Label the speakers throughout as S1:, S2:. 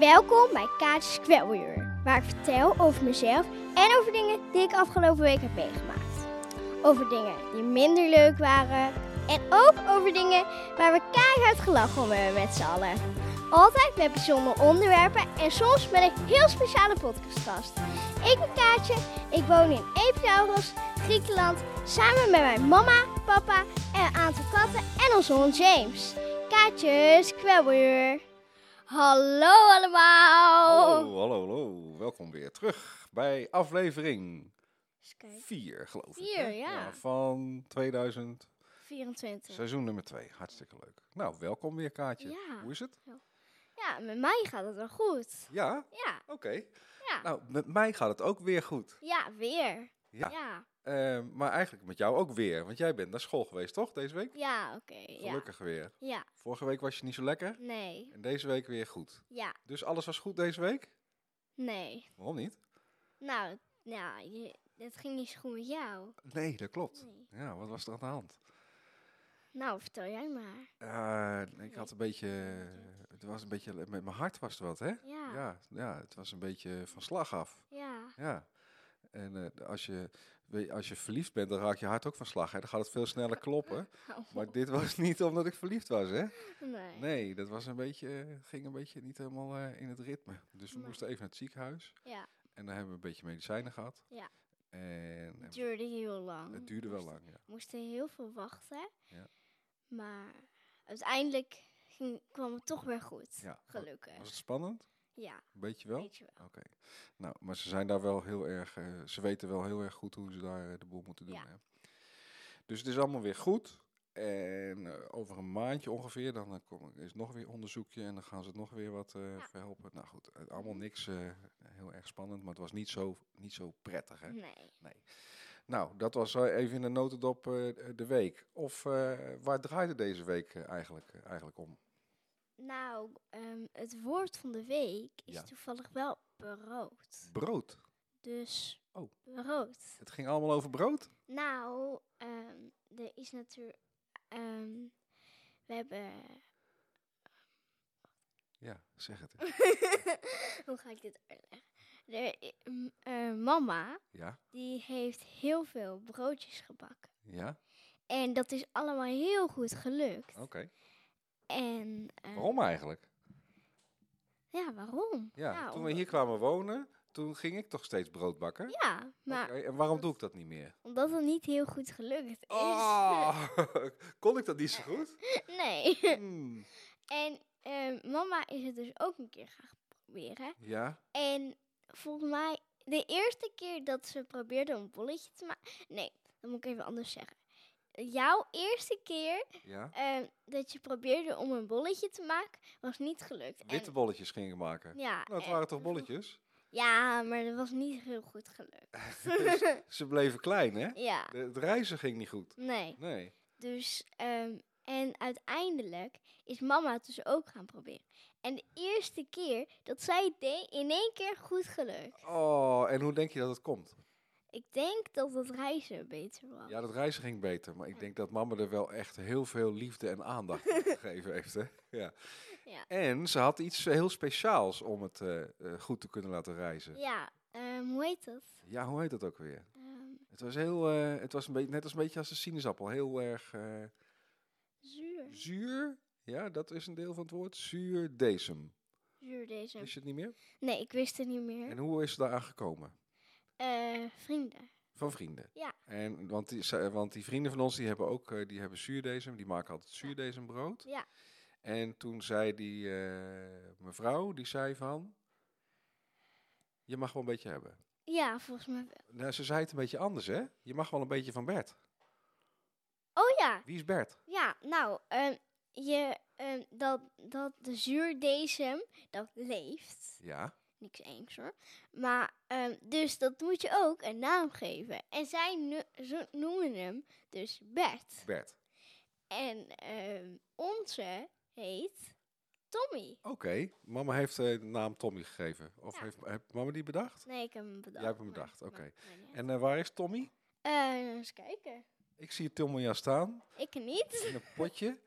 S1: Welkom bij Kaatjes Kwelweer, waar ik vertel over mezelf en over dingen die ik afgelopen week heb meegemaakt. Over dingen die minder leuk waren en ook over dingen waar we keihard gelachen om hebben met z'n allen. Altijd met bijzondere onderwerpen en soms met een heel speciale podcastgast. Ik ben Kaatje, ik woon in Epidaurus, Griekenland, samen met mijn mama, papa en een aantal katten en onze hond James. Kaatjes Kwelweer. Hallo allemaal!
S2: Hallo, hallo, hallo. Welkom weer terug bij aflevering
S1: Eens kijken.
S2: 4, geloof ik.
S1: Vier,
S2: hè?
S1: ja.
S2: Van 2000,
S1: 24.
S2: seizoen nummer 2. Hartstikke leuk. Nou, welkom weer, Kaatje.
S1: Ja.
S2: Hoe is het?
S1: Ja, met mij gaat het wel goed.
S2: Ja?
S1: Ja,
S2: Oké.
S1: ja.
S2: Nou, met mij gaat het ook weer goed.
S1: ja, weer.
S2: Ja.
S1: ja.
S2: Eh, maar eigenlijk met jou ook weer, want jij bent naar school geweest, toch, deze week?
S1: Ja, oké. Ja.
S2: Gelukkig weer.
S1: ja,
S2: Vorige week was je niet zo lekker
S1: nee.
S2: en deze week weer goed.
S1: Ja,
S2: Dus alles was goed deze week?
S1: nee.
S2: Waarom niet?
S1: Nou, ja, je, het ging niet zo goed met jou.
S2: Nee, dat klopt.
S1: Nee.
S2: Ja, wat was er aan de hand?
S1: Nou, vertel jij maar.
S2: Eh, ik had een beetje, het was een beetje, met mijn hart was het wat, hè?
S1: Ja, ja.
S2: Ja, ja, het was een beetje van slag af. Ja. En eh, als, je, weet je, als je verliefd bent, dan raakt je hart ook van slag. Hè? Dan gaat het veel sneller kloppen.
S1: Oh,
S2: Maar dit was niet omdat ik verliefd was, hè?
S1: nee.
S2: Nee, dat was een beetje, eh, ging een beetje niet helemaal eh, in het ritme. Dus we
S1: Nee.
S2: moesten even naar het ziekenhuis.
S1: Ja.
S2: En daar hebben we een beetje medicijnen gehad.
S1: Ja.
S2: En, en
S1: Het duurde heel lang.
S2: het duurde wel
S1: Moest-
S2: lang, ja.
S1: We moesten heel veel wachten.
S2: Ja.
S1: Maar uiteindelijk ging, kwam het toch weer goed.
S2: Ja.
S1: Gelukkig.
S2: Was het spannend?
S1: Ja,
S2: Een beetje wel?
S1: weet je wel.
S2: Oké. Nou, maar ze zijn daar wel heel erg, eh, ze weten wel heel erg goed hoe ze daar eh, de boel moeten doen.
S1: Ja.
S2: Hè? Dus het is allemaal weer goed. En eh, over een maandje ongeveer, dan eh, kom, is nog weer onderzoekje en dan gaan ze het nog weer wat eh,
S1: Ja.
S2: verhelpen. Nou goed, eh, allemaal niks eh, heel erg spannend, maar het was niet zo, niet zo prettig. Hè?
S1: Nee.
S2: Nou, dat was eh, even in de notendop eh, de week. Of eh, waar draaide deze week eh, eigenlijk, eh, eigenlijk om?
S1: Nou, ehm, het woord van de week is
S2: Ja.
S1: toevallig wel brood.
S2: Brood.
S1: Dus
S2: Oh.
S1: brood.
S2: Het ging allemaal over brood?
S1: Nou, ehm, er is natuurlijk. ehm, we hebben.
S2: Ja, zeg het.
S1: Hoe ga ik dit uitleggen? Er, i- m- eh, mama,
S2: Ja,
S1: die heeft heel veel broodjes gebakken.
S2: ja,
S1: En dat is allemaal heel goed gelukt.
S2: oké.
S1: En. eh,
S2: Waarom eigenlijk?
S1: Ja, waarom?
S2: Ja,
S1: Nou,
S2: toen we hier kwamen wonen, toen ging ik toch steeds brood bakken.
S1: Ja, maar
S2: Oké, en waarom doe ik dat niet meer?
S1: omdat het niet heel goed gelukt is.
S2: Oh, kon ik dat niet zo goed?
S1: Nee.
S2: Hmm,
S1: En ehm, mama is het dus ook een keer gaan proberen.
S2: Ja,
S1: En volgens mij, de eerste keer dat ze probeerde een bolletje te maken. Nee, dat moet ik even anders zeggen. Jouw eerste keer
S2: ja.
S1: ehm, dat je probeerde om een bolletje te maken, was niet gelukt. En-
S2: Witte bolletjes ging ik maken.
S1: ja,
S2: Nou, het
S1: en-
S2: waren toch bolletjes?
S1: Ja, maar dat was niet heel goed gelukt.
S2: Dus ze bleven klein, hè?
S1: ja,
S2: De, het reizen ging niet goed.
S1: nee.
S2: Nee.
S1: Dus, ehm, en uiteindelijk is mama het dus ook gaan proberen. En de eerste keer dat zij het deed, in één keer goed gelukt.
S2: Oh, en hoe denk je dat het komt?
S1: Ik denk dat het reizen beter was.
S2: Ja, dat reizen ging beter, maar ik denk dat mama er wel echt heel veel liefde en aandacht aan gegeven heeft, hè? Ja.
S1: Ja.
S2: En ze had iets heel speciaals om het eh, eh, goed te kunnen laten reizen.
S1: Ja, ehm, hoe heet dat?
S2: Ja, hoe heet dat ook weer?
S1: Ehm,
S2: Het was heel, eh, het was een beetje, net als een beetje als de sinaasappel, heel erg eh,
S1: zuur.
S2: zuur. Ja, dat is een deel van het woord. Zuurdesem.
S1: Zuur deze.
S2: Is je het niet meer?
S1: Nee, ik wist het niet
S2: Dus- En
S1: meer.
S2: hoe is het daaraan gekomen?
S1: Eh, vrienden.
S2: Van vrienden.
S1: Ja.
S2: En, want, die, ze- want die vrienden van ons, die hebben ook, eh, die hebben zuurdesem. Die maken altijd zuurdesembrood.
S1: Ja.
S2: En toen zei die eh, mevrouw, die zei van, je mag wel een beetje hebben.
S1: Ja, volgens mij wel.
S2: Nou, ze zei het een beetje anders, hè? Je mag wel een beetje van Bert.
S1: Oh ja,
S2: Wie is Bert?
S1: ja, nou, ehm, je, ehm, dat, dat de zuurdesem, dat leeft.
S2: Ja.
S1: Niks eens hoor. Maar, ehm, dus dat moet je ook een naam geven. En zij nu- ze noemen hem dus Bert.
S2: Bert.
S1: En ehm, onze heet Tommy.
S2: Oké, mama heeft eh, de naam Tommy gegeven. Of
S1: Ja.
S2: heeft, heeft mama die bedacht?
S1: Nee, ik heb hem bedacht.
S2: Jij hebt hem
S1: maar-
S2: bedacht,
S1: maar-
S2: oké.
S1: maar niet uit.
S2: En eh, waar is Tommy?
S1: Eh, eens kijken.
S2: Ik zie Tommy al staan
S1: Ik niet.
S2: in een potje.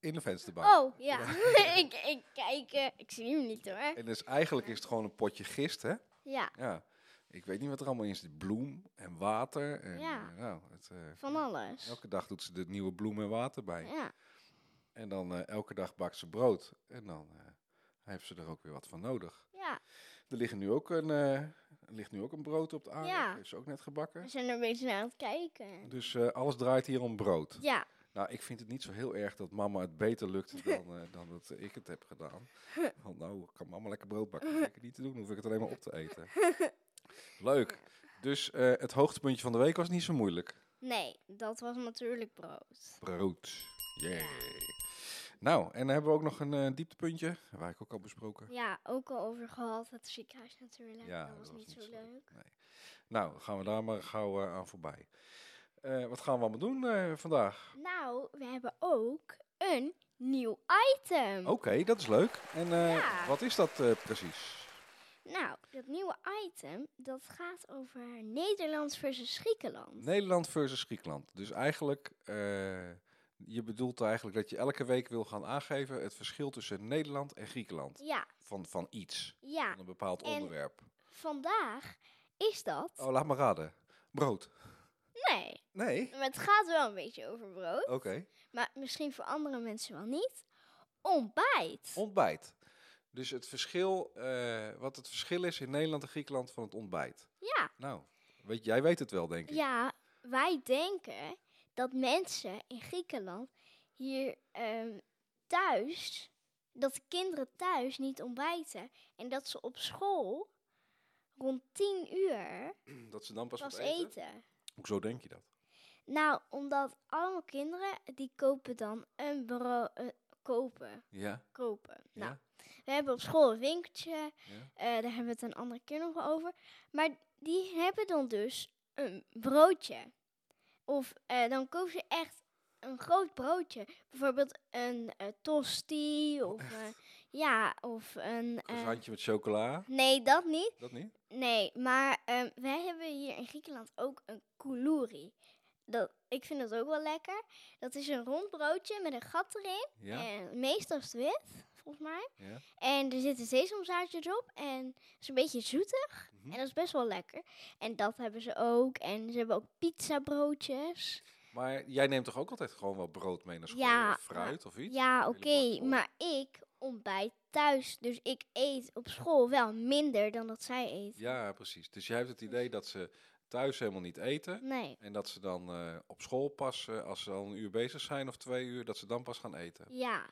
S2: in de vensterbank.
S1: Oh, ja. ik, ik kijk, eh, ik zie hem niet hoor.
S2: En dus eigenlijk is het gewoon een potje gist, hè?
S1: Ja,
S2: Ja. Ik weet niet wat er allemaal in zit. Bloem en water. En,
S1: Ja.
S2: eh, nou, het, eh,
S1: van alles.
S2: elke dag doet ze de nieuwe bloem en water bij.
S1: Ja,
S2: En dan eh, elke dag bakt ze brood. En dan eh, heeft ze er ook weer wat van nodig.
S1: ja.
S2: Er, liggen nu ook een, eh, er ligt nu ook een brood op de aarde.
S1: Ja.
S2: Dat heeft ze ook net gebakken.
S1: We zijn er een beetje naar aan het kijken.
S2: Dus eh, alles draait hier om brood.
S1: Ja,
S2: Nou, ik vind het niet zo heel erg dat mama het beter lukt dan, eh, dan dat ik het heb gedaan. Want nou, kan mama lekker brood bakken. Dat ik niet te doen, dan hoef ik het alleen maar op te eten. Leuk. Dus eh, het hoogtepuntje van de week was niet zo moeilijk.
S1: nee, dat was natuurlijk brood.
S2: Brood. Yeah. Nou, en dan hebben we ook nog een eh, dieptepuntje. Waar ik ook al besproken.
S1: Ja, ook al over gehad, het ziekenhuis natuurlijk.
S2: Ja,
S1: dat was niet zo leuk.
S2: Nee. Nou, gaan we daar maar gauw eh, aan voorbij. Eh, wat gaan we allemaal doen eh, vandaag?
S1: Nou, we hebben ook een nieuw item.
S2: Oké, dat is leuk. En eh,
S1: Ja.
S2: wat is dat eh, precies?
S1: Nou, dat nieuwe item, dat gaat over Nederlands versus Griekenland.
S2: Nederland versus Griekenland. Dus eigenlijk, eh, je bedoelt eigenlijk dat je elke week wil gaan aangeven het verschil tussen Nederland en Griekenland.
S1: Ja,
S2: Van, van iets,
S1: ja.
S2: van een bepaald
S1: En-
S2: onderwerp.
S1: Vandaag is dat...
S2: Oh, laat me raden. Brood.
S1: Nee,
S2: Nee?
S1: maar het gaat wel een beetje over brood.
S2: Oké.
S1: Maar misschien voor andere mensen wel niet. Ontbijt.
S2: Ontbijt. Dus het verschil, eh, wat het verschil is in Nederland en Griekenland van het ontbijt.
S1: ja.
S2: Nou, weet, jij weet het wel, denk ik.
S1: Ja, wij denken dat mensen in Griekenland hier ehm, thuis, dat de kinderen thuis niet ontbijten en dat ze op school rond 10 uur
S2: Hmm, Dat ze dan pas,
S1: pas
S2: wat eten.
S1: eten.
S2: Hoezo denk je dat?
S1: Nou, omdat allemaal kinderen die kopen dan een brood. kopen.
S2: Ja.
S1: Kopen. Nou,
S2: Ja.
S1: we hebben op school een winkeltje,
S2: Ja.
S1: eh, daar hebben we het een andere keer nog over. Maar die hebben dan dus een broodje. Of eh, dan kopen ze echt een groot broodje. Bijvoorbeeld een eh, tosti of eh, ja, of een. eh,
S2: Gezantje met chocola.
S1: nee, dat niet.
S2: Dat niet?
S1: Nee, maar ehm, wij hebben hier in Griekenland ook een koulouri. Dat, ik vind dat ook wel lekker. Dat is een rond broodje met een gat erin.
S2: Ja.
S1: En meestal is het wit, volgens mij.
S2: Ja.
S1: En er zitten sesamzaadjes op en het is een beetje zoetig.
S2: Mhm.
S1: En dat is best wel lekker. En dat hebben ze ook. En ze hebben ook pizzabroodjes.
S2: Maar jij neemt toch ook altijd gewoon wat brood mee naar school?
S1: Ja,
S2: of fruit of iets?
S1: Ja,
S2: Hele
S1: oké,
S2: bak vol.
S1: maar ik ontbijt thuis. Dus ik eet op school wel minder dan dat zij eet.
S2: Ja, precies. Dus jij hebt het idee dat ze thuis helemaal niet eten.
S1: Nee.
S2: En dat ze dan eh, op school pas, eh, als ze al een uur bezig zijn of twee uur, dat ze dan pas gaan eten.
S1: Ja,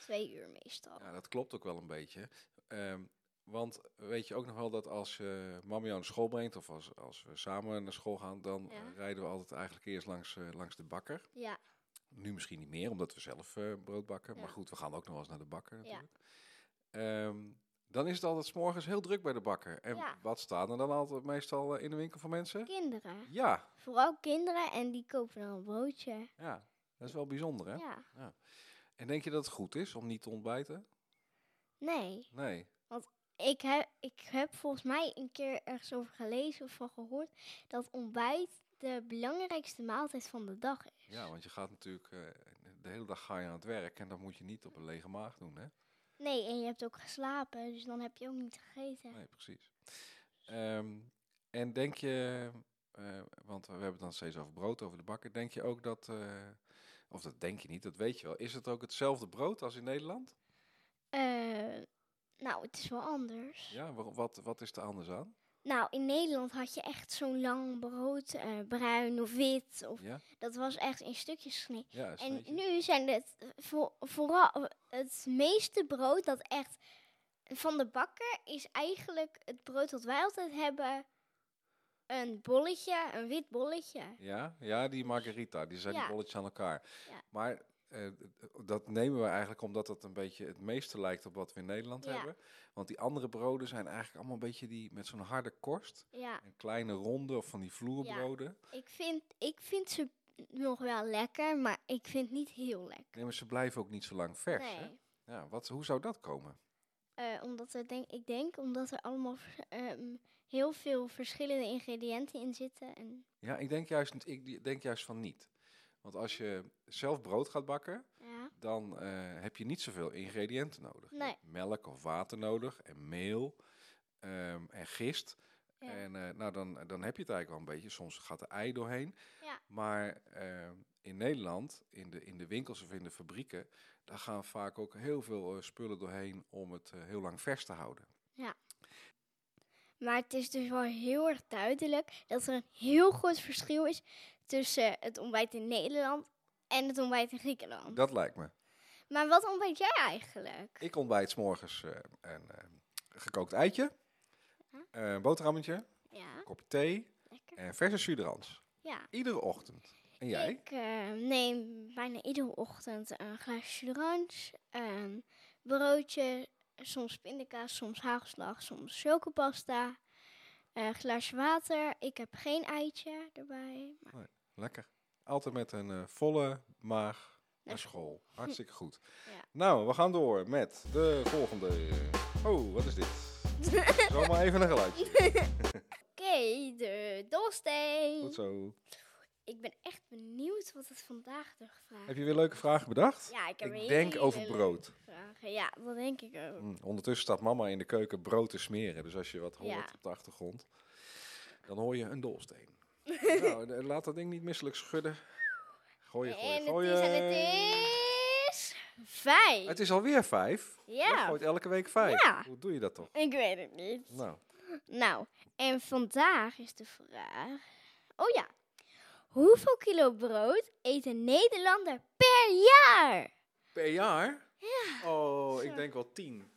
S1: twee uur meestal.
S2: Ja, dat klopt ook wel een beetje. Ehm, want weet je ook nog wel dat als je mama jou naar school brengt of als, als we samen naar school gaan, dan
S1: Ja.
S2: eh, rijden we altijd eigenlijk eerst langs, eh, langs de bakker.
S1: Ja,
S2: Nu misschien niet meer, omdat we zelf eh, brood bakken.
S1: Ja.
S2: Maar goed, we gaan ook nog wel eens naar de bakker
S1: Ja.
S2: natuurlijk. Ehm, dan is het altijd 's morgens heel druk bij de bakker. En
S1: Ja.
S2: wat staan er dan altijd meestal eh, in de winkel van mensen?
S1: kinderen.
S2: Ja,
S1: Vooral kinderen en die kopen dan een broodje.
S2: ja. Dat is wel bijzonder, hè?
S1: Ja.
S2: En denk je dat het goed is om niet te ontbijten?
S1: Nee,
S2: Nee.
S1: ik heb, ik heb volgens mij een keer ergens over gelezen of van gehoord dat ontbijt de belangrijkste maaltijd van de dag is.
S2: Ja, want je gaat natuurlijk... eh, de hele dag ga je aan het werk en dat moet je niet op een lege maag doen, hè?
S1: Nee, en je hebt ook geslapen, dus dan heb je ook niet gegeten.
S2: Nee, precies. Ehm, en denk je, eh, want we hebben het dan steeds over brood, over de bakker. Denk je ook dat, eh, of dat denk je niet, dat weet je wel. Is het ook hetzelfde brood als in Nederland?
S1: Eh, nou, het is wel anders.
S2: Ja, wa- wat, wat is er anders aan?
S1: Nou, in Nederland had je echt zo'n lang brood, eh, bruin of wit. Of,
S2: Ja,
S1: Dat was echt in stukjes gesneden.
S2: ja een
S1: En
S2: sneetje.
S1: nu zijn het vo- vooral het meeste brood dat echt van de bakker is eigenlijk het brood dat wij altijd hebben. Een bolletje, een wit bolletje.
S2: Ja, ja, die margarita, die zijn
S1: Ja.
S2: die bolletjes aan elkaar.
S1: Ja.
S2: Maar eh, d- dat nemen we eigenlijk omdat dat een beetje het meeste lijkt op wat we in Nederland
S1: Ja.
S2: hebben. Want die andere broden zijn eigenlijk allemaal een beetje die met zo'n harde korst.
S1: Ja,
S2: Een kleine ronde of van die vloerbroden.
S1: ik vind, ik vind ze nog wel lekker, maar ik vind niet heel lekker.
S2: Nee, maar ze blijven ook niet zo lang vers. Hè?
S1: Nee,
S2: Ja, wat, hoe zou dat komen?
S1: Eh, omdat er denk, ik denk omdat er allemaal vers- ehm, heel veel verschillende ingrediënten in zitten. En,
S2: Ja, ik denk juist, ik die- denk juist van niet. Want als je zelf brood gaat bakken,
S1: ja,
S2: dan eh, heb je niet zoveel ingrediënten nodig. Je
S1: Nee.
S2: hebt Melk of water nodig en meel ehm, en gist.
S1: Ja.
S2: En eh, nou, dan, dan heb je het eigenlijk wel een beetje. Soms gaat er ei doorheen.
S1: Ja.
S2: Maar ehm, in Nederland, in de, in de winkels of in de fabrieken, daar gaan vaak ook heel veel eh, spullen doorheen om het eh, heel lang vers te houden.
S1: Maar het is dus wel heel erg duidelijk dat er een heel groot verschil is tussen het ontbijt in Nederland en het ontbijt in Griekenland.
S2: Dat lijkt me.
S1: Maar wat ontbijt jij eigenlijk?
S2: Ik ontbijt 's morgens eh, een eh, gekookt eitje,
S1: Ja.
S2: eh, een boterhammetje,
S1: Ja,
S2: een kopje thee
S1: lekker.
S2: en verse suderans.
S1: Ja.
S2: Iedere ochtend. En jij?
S1: Ik eh, neem bijna iedere ochtend een glaasje orange, een broodje, soms pindakaas, soms hagelslag, soms chocopasta, een glaasje water. Ik heb geen eitje erbij. Maar
S2: Lekker. Altijd met een eh, volle maag naar
S1: Naar
S2: school. Hartstikke goed.
S1: Ja.
S2: Nou, we gaan door met de volgende. Oh, wat is dit? Zomaar even een geluidje.
S1: Oké, de dolsteen.
S2: Goed zo.
S1: Ik ben echt benieuwd wat het vandaag de vraag
S2: Heb je weer leuke vragen bedacht?
S1: Ja, ik heb
S2: Ik
S1: hele
S2: denk over
S1: leuke
S2: brood.
S1: vragen. Ja, dat denk ik ook.
S2: Mm, Ondertussen staat mama in de keuken brood te smeren. Dus als je wat hoort
S1: Ja.
S2: op de achtergrond, dan hoor je een dolsteen. nou, de- laat dat ding niet misselijk schudden. Gooien, gooien,
S1: en
S2: gooien.
S1: het is, en het is vijf.
S2: Het is alweer vijf. Je
S1: ja,
S2: gooit elke week vijf.
S1: Ja.
S2: Hoe doe je dat toch?
S1: ik weet het niet.
S2: Nou,
S1: Nou, en vandaag is de vraag. Oh ja, hoeveel kilo brood eet een Nederlander per jaar?
S2: Per jaar? Ja. Oh,
S1: Zo.
S2: ik denk wel 10.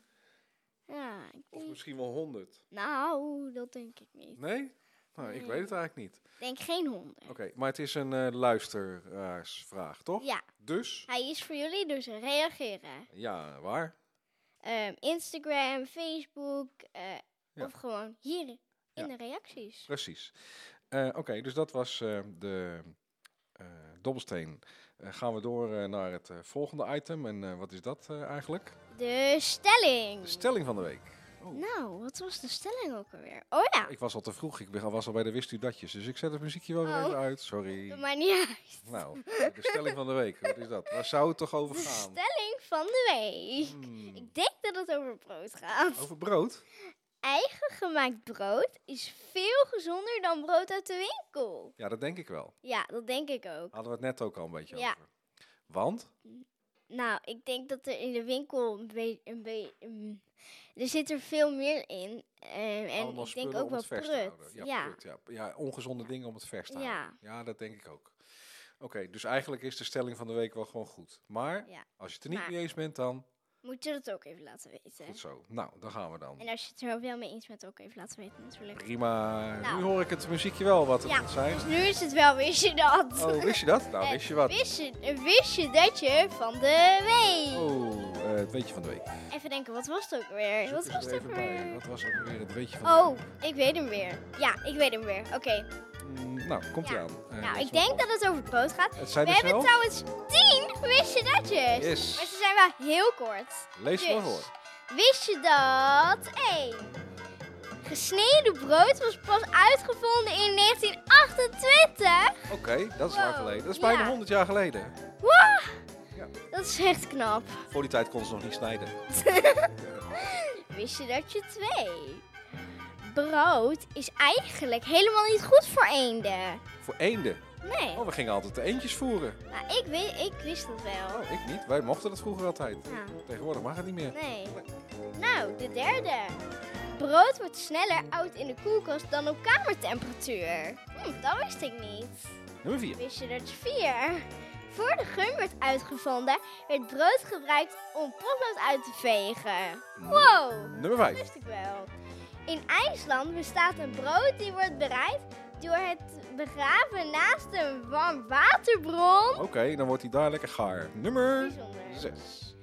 S1: Ja, ik
S2: Of
S1: denk-
S2: misschien wel 100.
S1: nou, dat denk ik niet.
S2: Nee? Nou, ik
S1: Nee.
S2: weet het eigenlijk niet.
S1: Ik denk geen honderd.
S2: Oké, maar het is een eh, luisteraarsvraag, toch?
S1: Ja,
S2: Dus?
S1: hij is voor jullie, dus reageren.
S2: Ja, waar?
S1: Ehm, Instagram, Facebook eh,
S2: Ja.
S1: of gewoon hier in
S2: Ja.
S1: de reacties.
S2: Precies. Eh, Oké, dus dat was eh, de eh dobbelsteen. Eh, gaan we door eh, naar het eh, volgende item. En eh, wat is dat eh, eigenlijk?
S1: De stelling.
S2: De stelling van de week. Oh.
S1: nou, wat was de stelling ook alweer? Oh ja,
S2: Ik was al te vroeg. Ik ben- was al bij de Wist u datjes. Dus ik zet het muziekje wel weer
S1: Oh.
S2: even uit. Sorry.
S1: doe maar niet uit.
S2: Nou, de stelling van de week. Wat is dat? Waar zou het toch over
S1: De
S2: gaan?
S1: stelling van de week.
S2: Hmm. Oh.
S1: Ik denk dat het over brood gaat.
S2: Over brood?
S1: Eigen gemaakt brood is veel gezonder dan brood uit de winkel.
S2: Ja, dat denk ik wel.
S1: Ja, dat denk ik ook.
S2: Hadden we het net ook al een beetje
S1: Ja.
S2: over. Want?
S1: Nou, ik denk dat er in de winkel een beetje... Een be- mm, er zit er veel meer in. ehm, en
S2: allemaal
S1: ik denk
S2: spullen
S1: ook
S2: om
S1: wel
S2: het vers te
S1: prut.
S2: houden. Ja, prut, ja. ja, ongezonde dingen om het vers te
S1: Ja.
S2: houden. Ja, dat denk ik ook. Oké, dus eigenlijk is de stelling van de week wel gewoon goed. Maar
S1: Ja.
S2: als je het er niet
S1: Maar-
S2: mee eens bent, dan
S1: Moet je dat ook even laten weten.
S2: goed zo. Nou, dan gaan we dan.
S1: En als je het er ook wel mee eens bent, ook even laten weten natuurlijk.
S2: Prima.
S1: Nou.
S2: Nu hoor ik het muziekje wel wat het
S1: Ja.
S2: moet zijn.
S1: Dus nu is het wel, wist je dat?
S2: Oh, wist je dat? Nou,
S1: Eh,
S2: wist je wat?
S1: Wist je, eh, wist je dat je van de week?
S2: Oh, eh, het weetje van de week.
S1: Even denken, wat was het ook weer?
S2: Zoek
S1: wat
S2: eens
S1: was het
S2: er
S1: ook
S2: even bij.
S1: weer?
S2: Wat was ook weer het weetje van de
S1: Oh, ik weet hem weer. Ja, ik weet hem weer. Oké,
S2: week? Mm, nou, komt ie
S1: Ja.
S2: aan. Eh, dat
S1: nou,
S2: is
S1: ik
S2: wel
S1: denk dat het over brood gaat.
S2: Het zijn
S1: We
S2: er
S1: hebben
S2: snel.
S1: trouwens 10 wist je datjes.
S2: Yes.
S1: Maar ze zijn wel heel kort.
S2: Lees maar
S1: Dus,
S2: voor.
S1: Wist je dat? 1. Gesneden brood was pas uitgevonden in 1928.
S2: Oké, dat is lang
S1: Wow,
S2: geleden. Dat is
S1: ja.
S2: bijna 100 jaar geleden.
S1: Wah!
S2: Ja.
S1: Dat is echt knap.
S2: Voor die tijd kon ze nog niet snijden.
S1: Wist je dat je twee? Brood is eigenlijk helemaal niet goed voor eenden.
S2: Voor eenden.
S1: Nee,
S2: Oh, we gingen altijd de eendjes voeren.
S1: maar ik, weet, ik wist dat wel.
S2: Oh, ik niet. Wij mochten dat vroeger altijd.
S1: Ja,
S2: Tegenwoordig mag het niet meer.
S1: nee. Nou, de derde. Brood wordt sneller oud in de koelkast dan op kamertemperatuur. Hm, dat wist ik niet.
S2: Nummer 4.
S1: Wist je dat je vier? Voor de gum werd uitgevonden, werd brood gebruikt om potlood uit te vegen. Wow!
S2: Nummer 5.
S1: wist ik wel. In IJsland bestaat een brood die wordt bereid door het begraven naast een warm waterbron.
S2: Oké, dan wordt hij daar lekker gaar. Nummer
S1: Bijzonder.
S2: 6.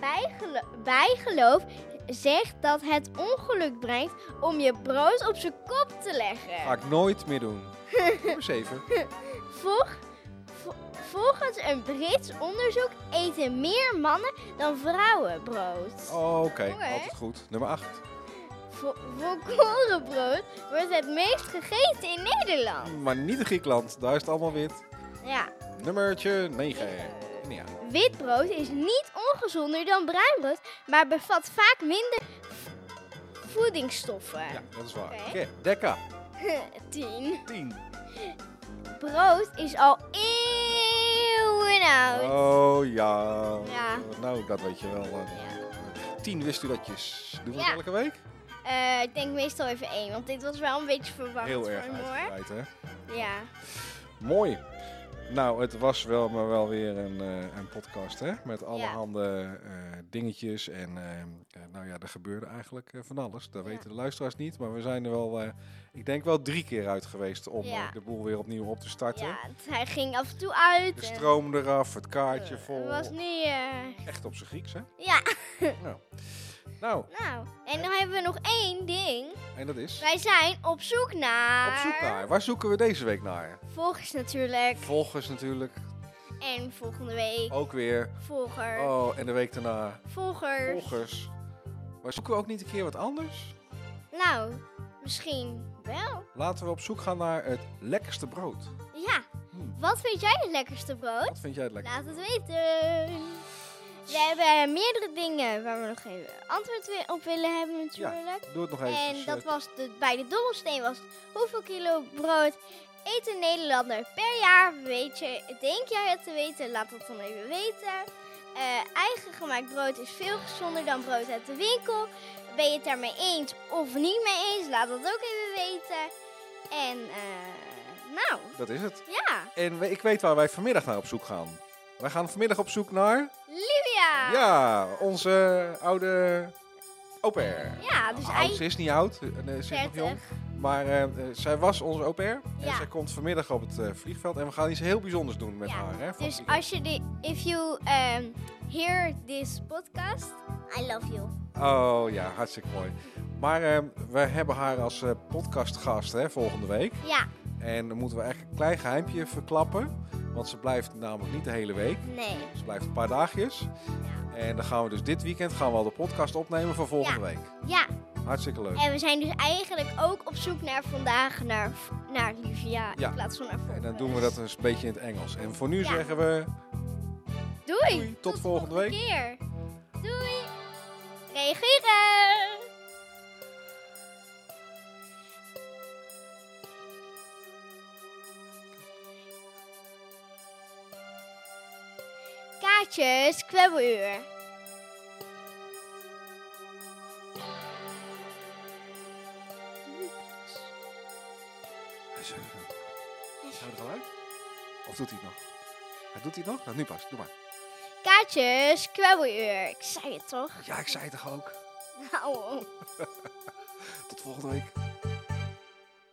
S1: Bijgelo- bijgeloof zegt dat het ongeluk brengt om je brood op zijn kop te leggen.
S2: Ga ik nooit meer doen. Nummer 7.
S1: Volg- vo- volgens een Brits onderzoek eten meer mannen dan vrouwen brood.
S2: Oké,
S1: Mooi, hè?
S2: altijd goed. Nummer 8.
S1: Vo- volkorenbrood wordt het meest gegeten in Nederland.
S2: Maar niet in Griekenland. Daar is het allemaal wit.
S1: Ja.
S2: Nummertje 9.
S1: Eh,
S2: niet uit.
S1: Wit brood is niet ongezonder dan bruin brood, maar bevat vaak minder voedingsstoffen.
S2: Ja, dat is waar.
S1: Oké.
S2: Oké, Dekka,
S1: 10.
S2: 10.
S1: Brood is al eeuwen oud.
S2: Oh ja.
S1: Ja.
S2: Nou, dat weet je wel. eh.
S1: Ja.
S2: Tien wist u dat je. s- Doen we
S1: Ja.
S2: het elke week?
S1: Eh, ik denk meestal even één, want dit was wel een beetje verwacht
S2: Heel
S1: voor
S2: erg
S1: me hoor.
S2: uitgebreid, hè?
S1: Ja.
S2: Mooi. Nou, het was wel, maar wel weer een, eh, een podcast, hè? Met allerhande eh dingetjes. En eh, eh, nou ja, er gebeurde eigenlijk eh, van alles. Dat
S1: Ja.
S2: weten de luisteraars niet. Maar we zijn er wel, eh, ik denk wel drie keer uit geweest om
S1: Ja.
S2: eh, de boel weer opnieuw op te starten.
S1: ja, het- hij ging af en toe uit.
S2: De
S1: en-
S2: stroom eraf, het kaartje
S1: Eh,
S2: vol.
S1: was niet... eh,
S2: Echt op zijn Grieks, hè?
S1: Ja,
S2: nou. nou,
S1: nou. En dan hebben we nog één ding.
S2: en dat is...
S1: Wij zijn op zoek naar...
S2: Op zoek naar. Waar zoeken we deze week naar?
S1: Volgers natuurlijk.
S2: Volgers natuurlijk.
S1: En volgende week
S2: Ook weer.
S1: volger.
S2: Oh, en de week daarna
S1: Volgers.
S2: volgers. Maar zoeken we ook niet een keer wat anders?
S1: Nou, misschien wel.
S2: Laten we op zoek gaan naar het lekkerste brood.
S1: Ja.
S2: Hmm.
S1: Wat vind jij het lekkerste brood?
S2: Wat vind jij het lekkerste?
S1: Laat het weten. We hebben meerdere dingen waar we nog geen antwoord wi- op willen hebben natuurlijk.
S2: Doe het nog even.
S1: en dat was de, bij de dobbelsteen was het, hoeveel kilo brood eet een Nederlander per jaar? Weet je, denk jij het te weten? Laat dat dan even weten. Eh, eigen gemaakt brood is veel gezonder dan brood uit de winkel. Ben je het daarmee eens of niet mee eens? Laat dat ook even weten. En eh, nou,
S2: Dat is het.
S1: ja,
S2: En we- ik weet waar wij vanmiddag naar op zoek gaan. Wij gaan vanmiddag op zoek naar...
S1: Livia!
S2: Ja, onze oude au pair.
S1: Ja, dus eigenlijk...
S2: Nou, oud, ze is niet oud, eh, nee, ze is nog
S1: 30.
S2: jong. Maar eh, eh, zij was onze au pair. En
S1: Ja.
S2: zij komt vanmiddag op het eh, vliegveld. En we gaan iets heel bijzonders doen met
S1: Ja,
S2: haar. Hè, van
S1: Dus
S2: vliegveld.
S1: als je de, if you ehm, hear this podcast, I love you.
S2: Oh ja, hartstikke mooi. Maar eh, we hebben haar als eh, podcastgast hè, volgende week.
S1: Ja,
S2: En dan moeten we eigenlijk een klein geheimpje verklappen. Want ze blijft namelijk niet de hele week.
S1: nee.
S2: Ze blijft een paar dagjes. En dan gaan we dus dit weekend gaan we al de podcast opnemen voor volgende week.
S1: Ja,
S2: Hartstikke leuk.
S1: en we zijn dus eigenlijk ook op zoek naar vandaag, naar, naar Livia,
S2: Ja.
S1: in plaats van naar volgende.
S2: En dan doen we dat eens een beetje in het Engels. En voor nu
S1: Ja.
S2: zeggen we...
S1: Doei!
S2: Doei, tot volgende week.
S1: keer. Doei! Reageren! Kaartjes, kwebbeluur.
S2: Is hij eh, er al uit? Of doet hij het nog? Hij doet hij het nog? Nou, nu pas. Doe maar.
S1: Kaartjes, kwebbeluur. Ik zei het toch?
S2: Ja, ik zei het toch ook.
S1: Nou.
S2: Tot volgende week.